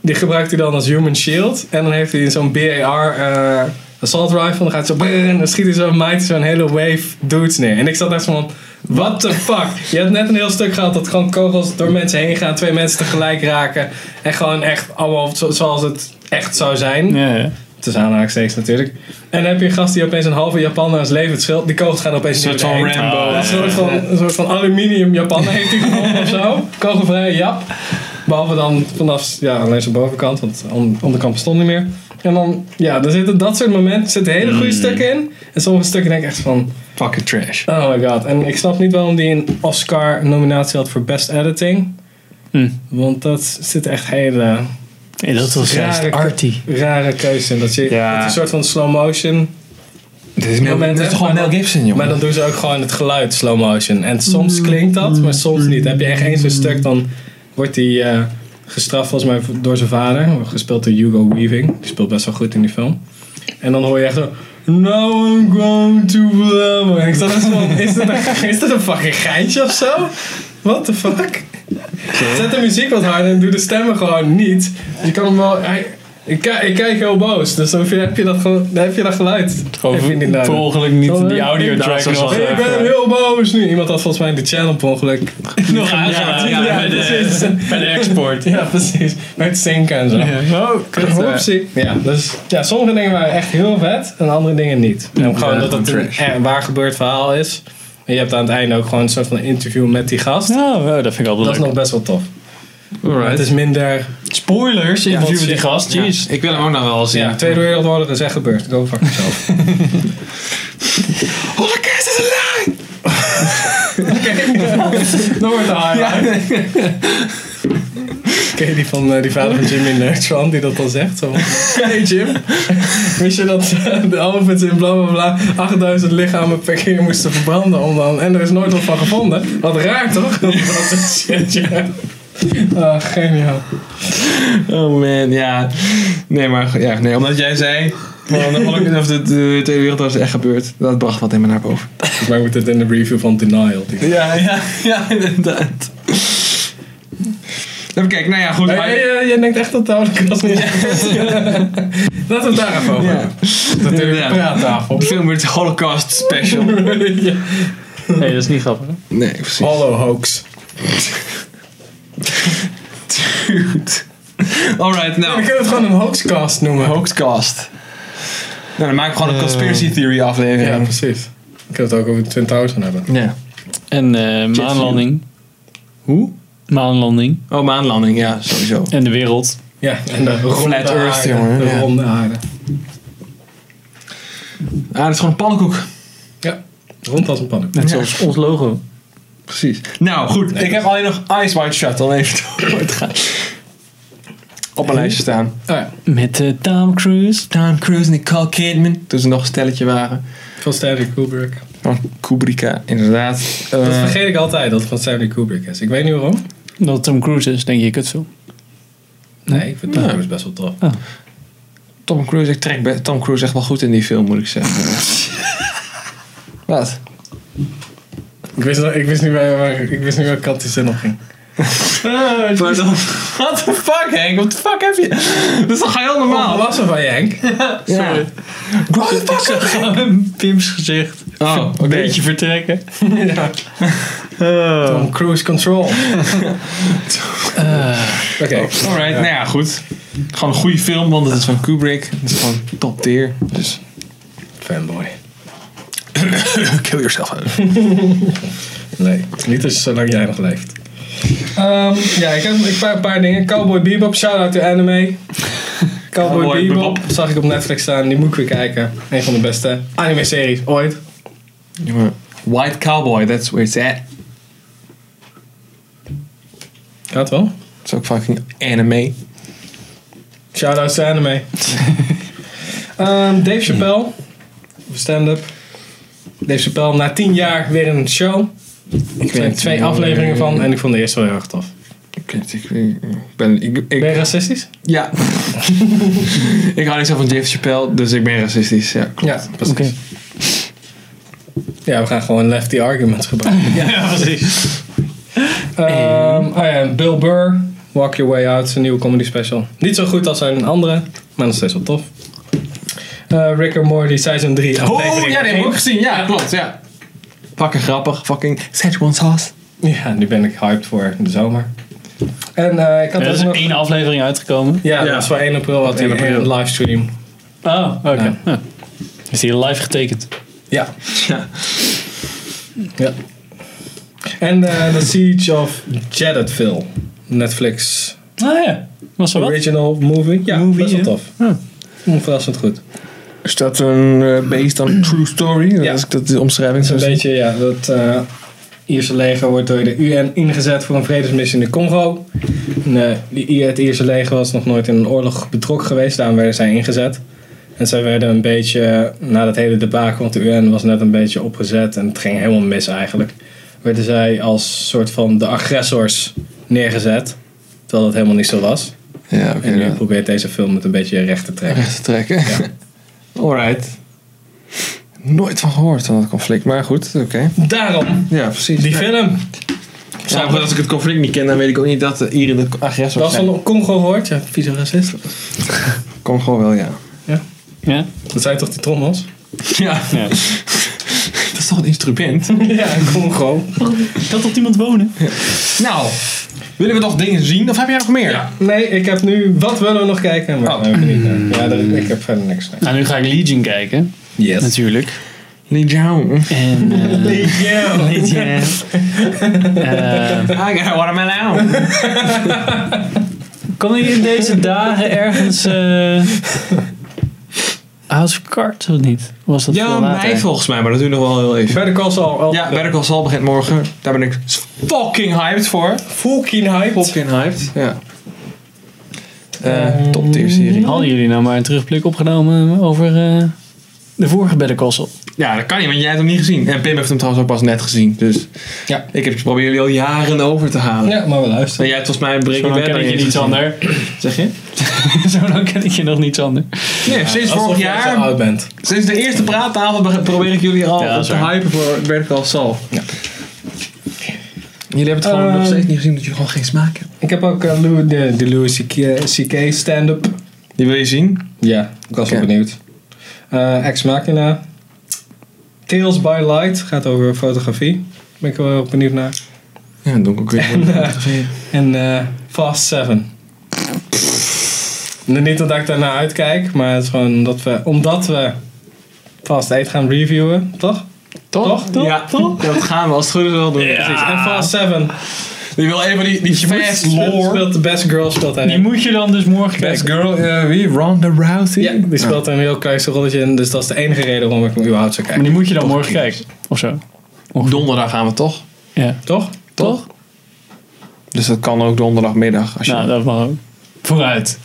Speaker 1: Die gebruikt hij dan als human shield. En dan heeft hij zo'n BAR eh, assault rifle. Dan gaat hij zo... brrr, en dan schiet hij zo'n might zo'n hele wave dudes neer. En ik zat echt zo van... What the fuck? Je hebt net een heel stuk gehad dat gewoon kogels door mensen heen gaan. Twee mensen tegelijk raken. En gewoon echt allemaal zo- zoals het echt zou zijn.
Speaker 3: Ja, ja.
Speaker 1: Tussen aanhalingstekens natuurlijk. En dan heb je een gast die opeens een halve Japaner als levend schild. Die kogels gaan opeens
Speaker 2: Een soort
Speaker 1: door
Speaker 2: van
Speaker 1: heen.
Speaker 2: Rambo.
Speaker 1: Een soort van, een soort van aluminium Japaner heeft hij gewonnen of zo. Kogelvrije Jap. Behalve dan vanaf ja, alleen zijn bovenkant, want aan de onderkant bestond niet meer. En dan, ja, er zitten dat soort momenten, er zitten hele
Speaker 2: Hmm.
Speaker 1: goede stukken in. En sommige stukken denk ik echt van,
Speaker 2: Fucking trash.
Speaker 1: oh my god. En ik snap niet waarom die een Oscar-nominatie had voor Best Editing.
Speaker 3: Hm.
Speaker 1: Want dat zit echt hele
Speaker 3: Nee, dat was
Speaker 1: Rare
Speaker 3: juist
Speaker 1: kut.
Speaker 3: arty.
Speaker 1: rare keuze in. Dat je
Speaker 2: Ja.
Speaker 1: het is een soort van slow motion.
Speaker 2: Dit is, Mel,
Speaker 1: Moment,
Speaker 2: dit is
Speaker 1: hè?
Speaker 2: gewoon
Speaker 1: Maar
Speaker 2: Mel
Speaker 1: dat-
Speaker 2: Gibson, jongen.
Speaker 1: Maar dan doen ze ook gewoon het geluid slow motion. En soms klinkt dat, maar soms niet. Heb je echt eens een stuk, dan wordt hij eh, gestraft volgens mij door zijn vader. Gespeeld door Hugo Weaving. Die speelt best wel goed in die film. En dan hoor je echt zo... Now I'm going to blow. En Ik zat echt zo van, is dit, een, is dit een fucking geintje of zo? What the fuck? Zet de muziek wat harder en doe de stemmen gewoon niet. Dus je kan hem wel... hij- ik, kijk- ik kijk heel boos, dus dan heb je dat, gewoon- dan heb je dat geluid. Heb je niet
Speaker 3: Gewoon
Speaker 1: nodig.
Speaker 3: per ongeluk niet
Speaker 1: Sorry.
Speaker 3: die audio
Speaker 2: Daar
Speaker 3: track
Speaker 2: is ons
Speaker 3: nog. eh.
Speaker 2: wel-
Speaker 1: Ik ben heel boos nu. Iemand had volgens mij de channel per ongeluk.
Speaker 3: nog
Speaker 2: Ja,
Speaker 3: aangehaald.
Speaker 2: ja,
Speaker 3: Ja,
Speaker 1: bij
Speaker 3: bij
Speaker 1: de-
Speaker 3: de- bij de export.
Speaker 1: Ja, precies. Met zinken en zo.
Speaker 3: Ja. Oh, kut.
Speaker 1: Oepsie. Ja, dus ja, sommige dingen waren echt heel vet en andere dingen niet. En gewoon dat het een
Speaker 2: trash.
Speaker 1: eh, waar gebeurd verhaal is. En je hebt aan het einde ook gewoon een soort van interview met die gast.
Speaker 3: Nou, oh, dat vind ik
Speaker 1: Dat is
Speaker 3: altijd
Speaker 1: nog
Speaker 3: leuk.
Speaker 1: best wel tof. Maar
Speaker 2: Alright.
Speaker 1: het is minder...
Speaker 3: Spoilers, interview met die gast.
Speaker 2: Ja,
Speaker 3: Jeez.
Speaker 2: ik wil hem ook nog wel zien.
Speaker 1: Ja, Tweede Wereldoorlog is echt gebeurd. Go fuck yourself.
Speaker 2: Holocaust is a lie!
Speaker 1: Dan wordt de highlight. Ken je die van eh, die vader van Jimmy Neutron die dat dan zegt? Zo. van, Hey Jim, wist je dat eh, de elephants in bla bla bla 8000 lichamen per keer moesten verbranden om dan, en er is nooit wat van gevonden? Wat raar toch? Dat is shit, ja. Ah, geniaal.
Speaker 2: Oh man, ja. Nee, maar ja, nee, omdat jij zei. Van, de Holocaust- of de, de Tweede Wereldoorlog is echt gebeurd. Dat bracht wat in me naar boven.
Speaker 1: Volgens mij moet het in de review van Denial. Die...
Speaker 2: Ja, ja, ja, inderdaad. Even kijken, nou ja, goed.
Speaker 1: Nee,
Speaker 2: maar-
Speaker 1: jij, eh, jij denkt echt dat de holocaust niet Laten we het daar even over
Speaker 2: Ja.
Speaker 1: hebben. Dat is
Speaker 2: Ja.
Speaker 1: een praattafel.
Speaker 2: De film wordt Holocaust Special.
Speaker 1: Ja.
Speaker 3: Nee, dat is niet grappig. hè?
Speaker 2: Nee, precies.
Speaker 1: Hollow hoax.
Speaker 2: Dude. Alright,
Speaker 1: We
Speaker 2: nou.
Speaker 1: kunnen het gewoon een hoaxcast noemen.
Speaker 2: Hoaxcast. Nou, dan maken we gewoon een
Speaker 3: Eh.
Speaker 2: conspiracy theory
Speaker 1: Ja,
Speaker 2: aflevering.
Speaker 1: precies. Ik kan het ook over de Twin Towers gaan hebben.
Speaker 2: Ja.
Speaker 3: En eh, maanlanding.
Speaker 2: Hoe?
Speaker 3: Maanlanding.
Speaker 2: Oh, maanlanding, ja, sowieso.
Speaker 3: En de wereld.
Speaker 1: Ja, en de ronde
Speaker 2: Flat Earth,
Speaker 1: aarde.
Speaker 2: jongen,
Speaker 1: De
Speaker 2: ja.
Speaker 1: ronde aarde.
Speaker 2: Ah, dat is gewoon een pannenkoek.
Speaker 1: Ja, rond als een pannenkoek.
Speaker 3: Net
Speaker 2: Ja.
Speaker 3: zoals ons logo.
Speaker 2: Precies. Nou, goed. ik heb alleen nog Eyes Wide Shut om even door te gaan. Op een lijstje staan.
Speaker 1: Ah ja,
Speaker 3: Met de Tom Cruise.
Speaker 2: Tom Cruise, Nicole Kidman. Toen ze nog een stelletje waren.
Speaker 1: van Stanley Kubrick.
Speaker 2: Van Kubricka, inderdaad. Eh,
Speaker 1: Dat vergeet ik altijd, dat het van Stanley Kubrick is. Ik weet niet waarom.
Speaker 3: Dat Tom Cruise is, denk je, kutfilm.
Speaker 1: Nee, ik vind
Speaker 2: Ja.
Speaker 1: Tom Cruise best wel tof.
Speaker 2: Tom Cruise, ik trek be- Tom Cruise echt wel goed in die film, moet ik zeggen. Wat?
Speaker 1: Ik wist, nog- ik wist niet waar, waar- ik wist niet waar kant die zin op ging.
Speaker 2: Pardon. Eh, What the fuck, Henk? What the fuck heb je? Dat is toch heel
Speaker 1: Oh,
Speaker 2: normaal?
Speaker 1: was er van je, Henk?
Speaker 2: Ja.
Speaker 3: Ik zag gewoon Pim's gezicht.
Speaker 2: Oh, oké.
Speaker 3: Een beetje vertrekken.
Speaker 1: ja. Tom Cruise Control. Eh. Oh, Oké.
Speaker 2: Alright, nou ja, goed. Gewoon een goede film, want het is van Kubrick. Het is gewoon top tier. Dus
Speaker 1: Fanboy.
Speaker 2: kill yourself.
Speaker 1: Nee, niet dus zolang jij nog leeft. Ehm, ja, ik heb ik heb een paar dingen. Cowboy Bebop, shout-out to anime. Cowboy,
Speaker 2: Cowboy
Speaker 1: Bebop,
Speaker 2: Bebop.
Speaker 1: zag ik op Netflix staan. Die moet ik weer kijken. Een van de beste anime-series ooit.
Speaker 2: White Cowboy, that's where it's at.
Speaker 1: Gaat wel.
Speaker 2: Dat is ook fucking anime.
Speaker 1: Shout-out to anime. Ehm, Dave Chappelle, stand-up. Dave Chappelle, na tien jaar weer in een show. Er zijn
Speaker 2: niet eh,
Speaker 1: twee
Speaker 2: hoe-
Speaker 1: afleveringen van en ik vond de eerste wel heel erg tof.
Speaker 2: Ik, weet het, ik, ik ben... Ik, ik-
Speaker 1: Ben je racistisch?
Speaker 2: ja. ik hou niet zo van Dave Chappelle, dus ik ben racistisch. Ja, klopt.
Speaker 1: Ja, precies. Ja, we gaan gewoon lefty arguments gebruiken.
Speaker 3: Ja, precies.
Speaker 1: Ehm, oh ja, en Bill Burr, Walk Your Way Out, zijn nieuwe comedy special. Niet zo goed als zijn andere, maar nog steeds wel tof. Eh, Rick and Morty, seizoen 3,
Speaker 2: Oh,
Speaker 1: aflevering
Speaker 2: ja, die heb ik ook gezien. Ja, klopt, ja. Fucking grappig. Fucking Szechuan sauce.
Speaker 1: één. Ja, nu ben ik hyped voor de zomer. En eh, ik had
Speaker 3: Er
Speaker 1: ook
Speaker 3: is
Speaker 1: nog...
Speaker 3: één aflevering uitgekomen.
Speaker 1: Ja,
Speaker 2: Ja.
Speaker 1: dat is voor 1 april had hij
Speaker 2: 1 april.
Speaker 1: een livestream.
Speaker 3: Oh, oké.
Speaker 1: Ja.
Speaker 3: Ja. Is die live getekend?
Speaker 1: Ja.
Speaker 2: Ja.
Speaker 1: ja. En eh, The Siege of Jeddatville. Netflix
Speaker 3: Ah ja, was wel wat.
Speaker 1: original movie. Ja,
Speaker 3: Movie,
Speaker 1: best wel
Speaker 3: hè?
Speaker 1: tof.
Speaker 3: Ja.
Speaker 1: Onverrassend goed.
Speaker 2: Is dat een eh, based on true story?
Speaker 1: Ja.
Speaker 2: Als ik dat de
Speaker 1: Het
Speaker 2: omschrijving zo
Speaker 1: is
Speaker 2: zie.
Speaker 1: een beetje, ja, dat eh Ierse leger wordt door de UN ingezet voor een vredesmissie in de Congo. En, eh, die, I- het Ierse leger was nog nooit in een oorlog betrokken geweest, daarom werden zij ingezet. En zij werden een beetje, eh, na dat hele debakel, want de UN was net een beetje opgezet en het ging helemaal mis eigenlijk, werden zij als soort van de agressors neergezet. Terwijl dat helemaal niet zo was.
Speaker 2: Ja, oké.
Speaker 1: En nu
Speaker 2: ja.
Speaker 1: probeert deze film het een beetje recht te trekken.
Speaker 2: Recht te trekken.
Speaker 1: Ja.
Speaker 2: Alright. Nooit van gehoord van dat conflict, maar goed, oké.
Speaker 1: Daarom,
Speaker 2: Ja, precies.
Speaker 1: die film.
Speaker 2: Ja, maar als ik het conflict niet ken, dan weet ik ook niet dat eh, de Ieren de agressor
Speaker 1: Dat
Speaker 2: zijn.
Speaker 1: van Congo hoort, ja, vieze racist.
Speaker 2: Kom gewoon wel, ja.
Speaker 3: Ja?
Speaker 1: Dat zijn toch die trommels?
Speaker 2: Ja,
Speaker 3: ja.
Speaker 2: dat is toch een instrument?
Speaker 1: Ja, Congo.
Speaker 3: Kan toch iemand wonen?
Speaker 2: nou, willen we nog dingen zien of heb jij nog meer?
Speaker 1: Nee, ik heb nu. Wat willen we nog kijken? Maar
Speaker 2: Oh.
Speaker 1: daar heb ik niet naar. Ja, daar- ik heb verder niks. Nee.
Speaker 3: Nou, nu ga ik Legion kijken.
Speaker 1: Yes.
Speaker 3: Natuurlijk.
Speaker 2: Lee Jong.
Speaker 3: En... eh,
Speaker 1: Yeah.
Speaker 3: Legion. Eh,
Speaker 2: I got watermelon.
Speaker 3: Kan ik in deze dagen ergens eh, House of Cards of niet? Was dat
Speaker 2: Ja,
Speaker 3: veel later?
Speaker 2: mei volgens mij, maar dat duurt nog wel heel even.
Speaker 1: Verder Call Saul. al-
Speaker 2: Ja, Better Call Saul begint morgen. Daar ben ik fucking hyped voor.
Speaker 1: Fucking hyped.
Speaker 2: Fucking hyped. Ja. Eh top tier serie.
Speaker 3: Hadden jullie nou maar een terugblik opgenomen over eh, de vorige Better Call Saul?
Speaker 2: Ja, dat kan niet, want jij hebt hem niet gezien. En Pim heeft hem trouwens ook pas net gezien. Dus
Speaker 1: Ja.
Speaker 2: ik heb geprobeerd jullie al jaren over te halen.
Speaker 1: Ja, maar we
Speaker 2: En
Speaker 1: luisteren.
Speaker 2: jij hebt volgens mij een
Speaker 3: Zo
Speaker 2: Breaking
Speaker 3: dan
Speaker 2: Bad
Speaker 3: ken
Speaker 2: nog
Speaker 3: ik je niets
Speaker 2: gezien.
Speaker 3: ander.
Speaker 2: Zeg je?
Speaker 3: Zo dan ken ik je nog niets ander.
Speaker 2: Nee, sinds vorig
Speaker 1: Alsof jij zo
Speaker 2: jaar,
Speaker 1: oud bent.
Speaker 2: sinds de eerste praattafel be- probeer ik jullie al
Speaker 3: Ja, dat
Speaker 2: op
Speaker 3: is
Speaker 2: te
Speaker 3: waar.
Speaker 2: hypen voor Better Call Saul.
Speaker 1: Ja.
Speaker 2: Jullie hebben het gewoon
Speaker 1: Eh,
Speaker 2: nog steeds niet gezien dat jullie gewoon geen smaak hebben.
Speaker 1: Ik heb ook eh, Lou- de, de Louis C.K. CK stand-up.
Speaker 2: Die wil je zien?
Speaker 1: Ja, ik was
Speaker 2: Oké.
Speaker 1: wel benieuwd. Eh Ex Machina. Tales by Light gaat over fotografie. Ben ik wel benieuwd naar.
Speaker 2: Ja, dat doe ik ook weer.
Speaker 1: En eh, Fast 7. Nou, Niet dat ik daarnaar uitkijk, maar het is gewoon omdat we, omdat we Fast 8 gaan reviewen, toch? Toch?
Speaker 2: Ja, dat gaan we als het goed is wel doen.
Speaker 1: Precies. En Fast 7.
Speaker 2: Die wil even die, die fast lore.
Speaker 1: speelt de best girl speelt hij.
Speaker 3: Die moet je dan dus morgen
Speaker 1: Best
Speaker 3: kijken.
Speaker 1: girl.
Speaker 2: Eh, wie? Ronda Rousey?
Speaker 1: Ja, die speelt een heel klein rolletje in, dus dat is de enige reden waarom ik hem überhaupt zou
Speaker 3: Maar
Speaker 1: kijken.
Speaker 3: die moet je dan morgen kijken. Of zo.
Speaker 2: Op donderdag gaan we toch?
Speaker 3: Ja.
Speaker 1: Toch?
Speaker 3: Toch?
Speaker 2: Dus dat kan ook donderdagmiddag. Als je...
Speaker 3: Nou, dat mag ook. Vooruit.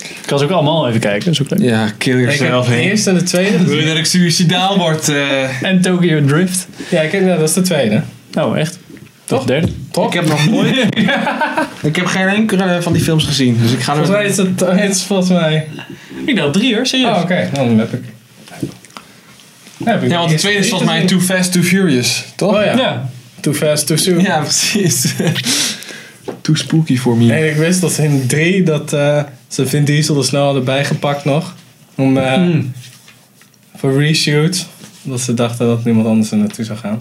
Speaker 3: Ik kan ze ook allemaal even kijken. Dat is ook leuk.
Speaker 2: ja,
Speaker 1: Ik
Speaker 2: kill
Speaker 1: heb
Speaker 2: yourself
Speaker 1: de
Speaker 2: heen.
Speaker 1: eerste en de tweede. dus-
Speaker 2: Wil je dat ik suicidaal word? eh?
Speaker 3: En Tokyo Drift.
Speaker 1: Ja, ik heb, ja, dat is de tweede.
Speaker 3: Oh, echt?
Speaker 1: Toch?
Speaker 3: Toch? Derde?
Speaker 2: Ik heb nog nooit. ik heb geen enkele van die films gezien. Dus ik ga
Speaker 1: Volgens mij
Speaker 2: er.
Speaker 1: is het, het is volgens mij...
Speaker 3: Ik dacht drie hoor, serieus.
Speaker 1: Oh, oké. Dan heb ik... Dan heb ik
Speaker 2: Ja, want de tweede is volgens mij Too Fast, Too Furious. Toch?
Speaker 1: Oh ja.
Speaker 3: Ja.
Speaker 1: Too fast, too soon.
Speaker 2: Ja, precies. Too spooky voor me.
Speaker 1: En ik wist dat in drie dat eh, ze Vin Diesel er snel hadden bijgepakt nog. Om, eh,
Speaker 2: Hmm.
Speaker 1: Voor reshoot. Omdat ze dachten dat niemand anders er naartoe zou gaan.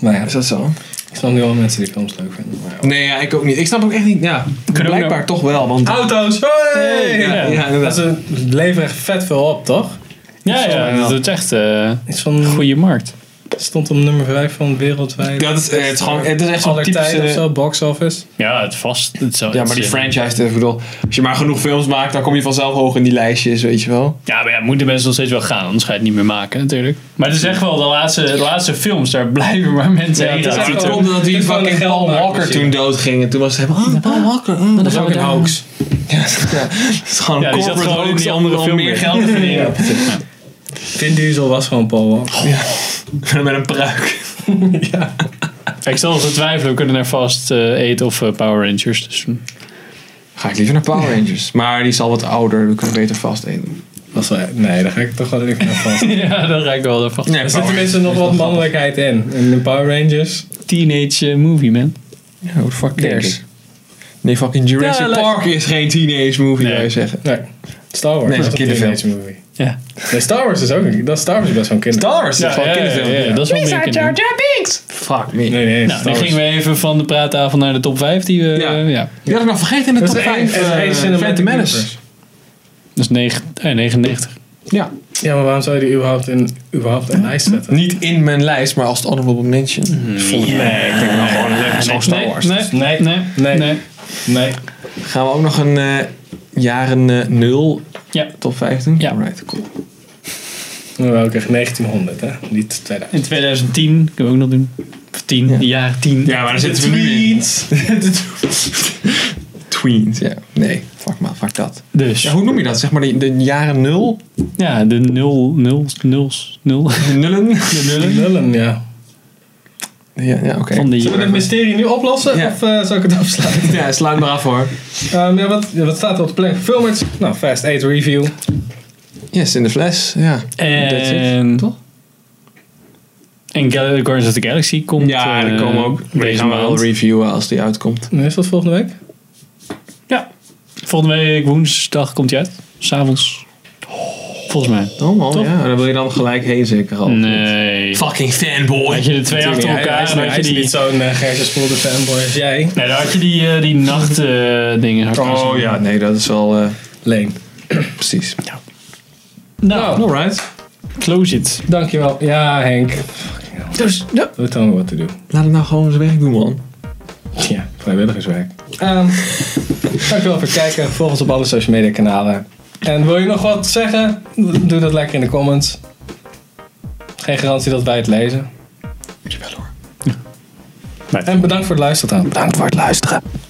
Speaker 1: Nou ja,
Speaker 2: Is dat zo?
Speaker 1: ik snap nu al mensen die films leuk vinden. maar ja.
Speaker 2: Nee, ja, ik ook niet. Ik snap ook echt niet. Ja,
Speaker 3: Kunnen we
Speaker 2: blijkbaar toch wel. Want
Speaker 1: Auto's! Hey!
Speaker 2: ja, ja,
Speaker 1: Dat
Speaker 2: inderdaad.
Speaker 1: ze leveren echt vet veel op, toch?
Speaker 3: Ja, ja, dat is echt eh,
Speaker 1: Iets van,
Speaker 3: een goede markt.
Speaker 1: stond op nummer 5 van wereldwijd.
Speaker 2: Dat is, eh, het is gewoon, het is echt zo'n
Speaker 1: Aller tijden of
Speaker 2: typische...
Speaker 1: zo, box office.
Speaker 3: Ja, het vast. Het zou-
Speaker 2: Ja, maar die
Speaker 3: het-
Speaker 2: franchise, ik bedoel, als je maar genoeg films maakt, dan kom je vanzelf hoog in die lijstjes, weet je wel.
Speaker 3: Ja, maar ja, moeten mensen nog steeds wel gaan, anders ga je het niet meer maken natuurlijk. Maar het is echt wel de laatste, de laatste films, daar blijven maar mensen
Speaker 1: Ja,
Speaker 3: heen.
Speaker 1: het is echt
Speaker 3: gaan.
Speaker 1: wel-
Speaker 3: Natuurlijk.
Speaker 1: dit
Speaker 2: Omdat die
Speaker 1: is wel
Speaker 2: fucking
Speaker 1: een
Speaker 2: Paul
Speaker 1: geldmaak
Speaker 2: Walker
Speaker 1: misschien.
Speaker 2: toen doodging en toen was het helemaal, ah, Paul Walker, mm,
Speaker 3: Dat
Speaker 2: dat
Speaker 3: is ook een
Speaker 1: hoax.
Speaker 2: is gewoon
Speaker 3: Ja,
Speaker 2: een
Speaker 3: die zat
Speaker 2: corporate
Speaker 3: gewoon in
Speaker 2: hoax
Speaker 3: die
Speaker 2: om-
Speaker 3: andere
Speaker 2: om
Speaker 3: film
Speaker 2: meer
Speaker 3: weer.
Speaker 2: geld te verdienen.
Speaker 1: Vin Diesel was gewoon Paul Walker.
Speaker 2: Met een pruik.
Speaker 3: Ik zal te twijfelen, we kunnen naar Fast eh, Eight of eh, Power Rangers. Dus, hm.
Speaker 2: Ga ik liever naar Power Rangers. Maar die is al wat ouder, we kunnen beter vast eten.
Speaker 1: Was wel, nee, daar ga ik toch wel even naar vast.
Speaker 3: ja, daar raak ik wel ervan.
Speaker 2: Nee,
Speaker 1: Er
Speaker 2: Power
Speaker 1: zit tenminste
Speaker 2: Rangers
Speaker 1: nog
Speaker 2: is
Speaker 1: wat
Speaker 2: wel
Speaker 1: mannelijkheid in. In de Power Rangers.
Speaker 3: Teenage eh, movie, man.
Speaker 2: grappig. Ja, hoe de fuck
Speaker 1: Denk
Speaker 2: cares? Nee, fucking
Speaker 3: Ja,
Speaker 2: Jurassic
Speaker 3: leuk.
Speaker 2: Park is geen teenage movie,
Speaker 3: Nee.
Speaker 2: wil je zeggen.
Speaker 1: Nee, Star Wars.
Speaker 2: Nee, dat is
Speaker 1: dat
Speaker 2: een
Speaker 1: teenage
Speaker 2: kinderfilm.
Speaker 1: movie.
Speaker 3: Ja.
Speaker 1: Nee, Star Wars is ook een, dat Star Wars is best wel een kinder.
Speaker 2: Star Wars is gewoon een kinderfilm.
Speaker 3: ja, dat is wel meer kinderen.
Speaker 2: Fuck me.
Speaker 1: Nee, nee,
Speaker 3: Nou,
Speaker 1: Star
Speaker 3: dan
Speaker 1: Wars.
Speaker 3: gingen we even van de praattafel naar de top 5. Die we,
Speaker 2: Ja.
Speaker 3: ja. ja.
Speaker 2: Die had ik nog vergeten in de
Speaker 1: Dat
Speaker 2: top
Speaker 1: is één-
Speaker 2: 5.
Speaker 1: dat is één cinematic
Speaker 2: Phantom Menace.
Speaker 1: universe.
Speaker 3: Dat is negen- eh, 99.
Speaker 2: Ja.
Speaker 1: Ja, maar waarom zou je die überhaupt in, überhaupt in lijst zetten?
Speaker 2: Niet in mijn lijst, maar als het honorable mention.
Speaker 1: Nee, ik denk wel gewoon leuk.
Speaker 2: Zoals Star Wars.
Speaker 3: Nee, nee, nee.
Speaker 1: Nee.
Speaker 3: nee.
Speaker 1: Nee.
Speaker 2: Gaan we ook nog een eh, jaren eh, 0
Speaker 3: Ja,
Speaker 2: top 5 doen?
Speaker 3: Ja.
Speaker 2: Alright, cool.
Speaker 1: Nou, ook echt 1900, hè? Niet 2000.
Speaker 3: in 2010 kunnen we ook nog doen. Of 10,
Speaker 2: Ja.
Speaker 3: jaar 10.
Speaker 2: maar daar
Speaker 1: zitten we nu in.
Speaker 2: Tweens, ja. Nee, fuck maar, fuck dat.
Speaker 3: Dus.
Speaker 2: Ja, hoe noem je dat? Zeg maar de, de jaren 0?
Speaker 3: Ja, de nul, nuls, nuls, nul.
Speaker 2: De nullen?
Speaker 3: De nullen.
Speaker 1: Lullen, ja.
Speaker 2: Ja, ja oké.
Speaker 3: Van de
Speaker 1: Zullen we het mysterie nu oplossen?
Speaker 2: Ja.
Speaker 1: Of eh, zal ik het afsluiten?
Speaker 2: Ja, sluit maar af hoor.
Speaker 1: Ehm, ja, wat, ja, wat staat er op de plek? Filmers. Nou, Fast 8 Review.
Speaker 2: Yes, in de fles, ja. That's it.
Speaker 3: En... Toch? En Gal- Guardians of the Galaxy komt
Speaker 2: Ja,
Speaker 3: eh,
Speaker 2: die komen ook. Die
Speaker 3: deze
Speaker 2: gaan we wel
Speaker 3: maand.
Speaker 2: reviewen als die uitkomt.
Speaker 1: Nu is dat volgende week?
Speaker 3: Ja. Volgende week woensdag komt hij uit. S'avonds. Volgens mij.
Speaker 2: Oh man,
Speaker 3: Toch?
Speaker 2: ja. Dan wil je dan gelijk heen zeker al.
Speaker 3: Nee.
Speaker 2: Fucking fanboy.
Speaker 3: Had je de twee achter
Speaker 1: Hij- hij
Speaker 3: elkaar
Speaker 1: is-
Speaker 3: en had
Speaker 1: Hij
Speaker 3: je
Speaker 1: is
Speaker 3: die...
Speaker 1: niet zo'n uh, Gertje Spoelde fanboy als jij.
Speaker 3: Nee, dan had je die, eh, die nacht eh, dingen. had je
Speaker 2: Oh
Speaker 3: gezien.
Speaker 2: ja, nee, dat is wel eh,
Speaker 1: Leen.
Speaker 2: precies.
Speaker 3: Nou,
Speaker 2: Alright.
Speaker 3: close it.
Speaker 1: Dankjewel. Ja, Henk.
Speaker 2: Dus ja.
Speaker 1: Doe dan wat te doen.
Speaker 2: laat het nou gewoon zijn werk doen, man.
Speaker 1: Ja, vrijwilligerswerk. Ehm, dankjewel voor het kijken. Volg ons op alle social media kanalen. En wil je nog wat zeggen? Doe dat lekker in de comments. Geen garantie dat wij het lezen.
Speaker 2: Jawel hoor.
Speaker 1: En bedankt voor het luisteren. Bedankt voor het luisteren.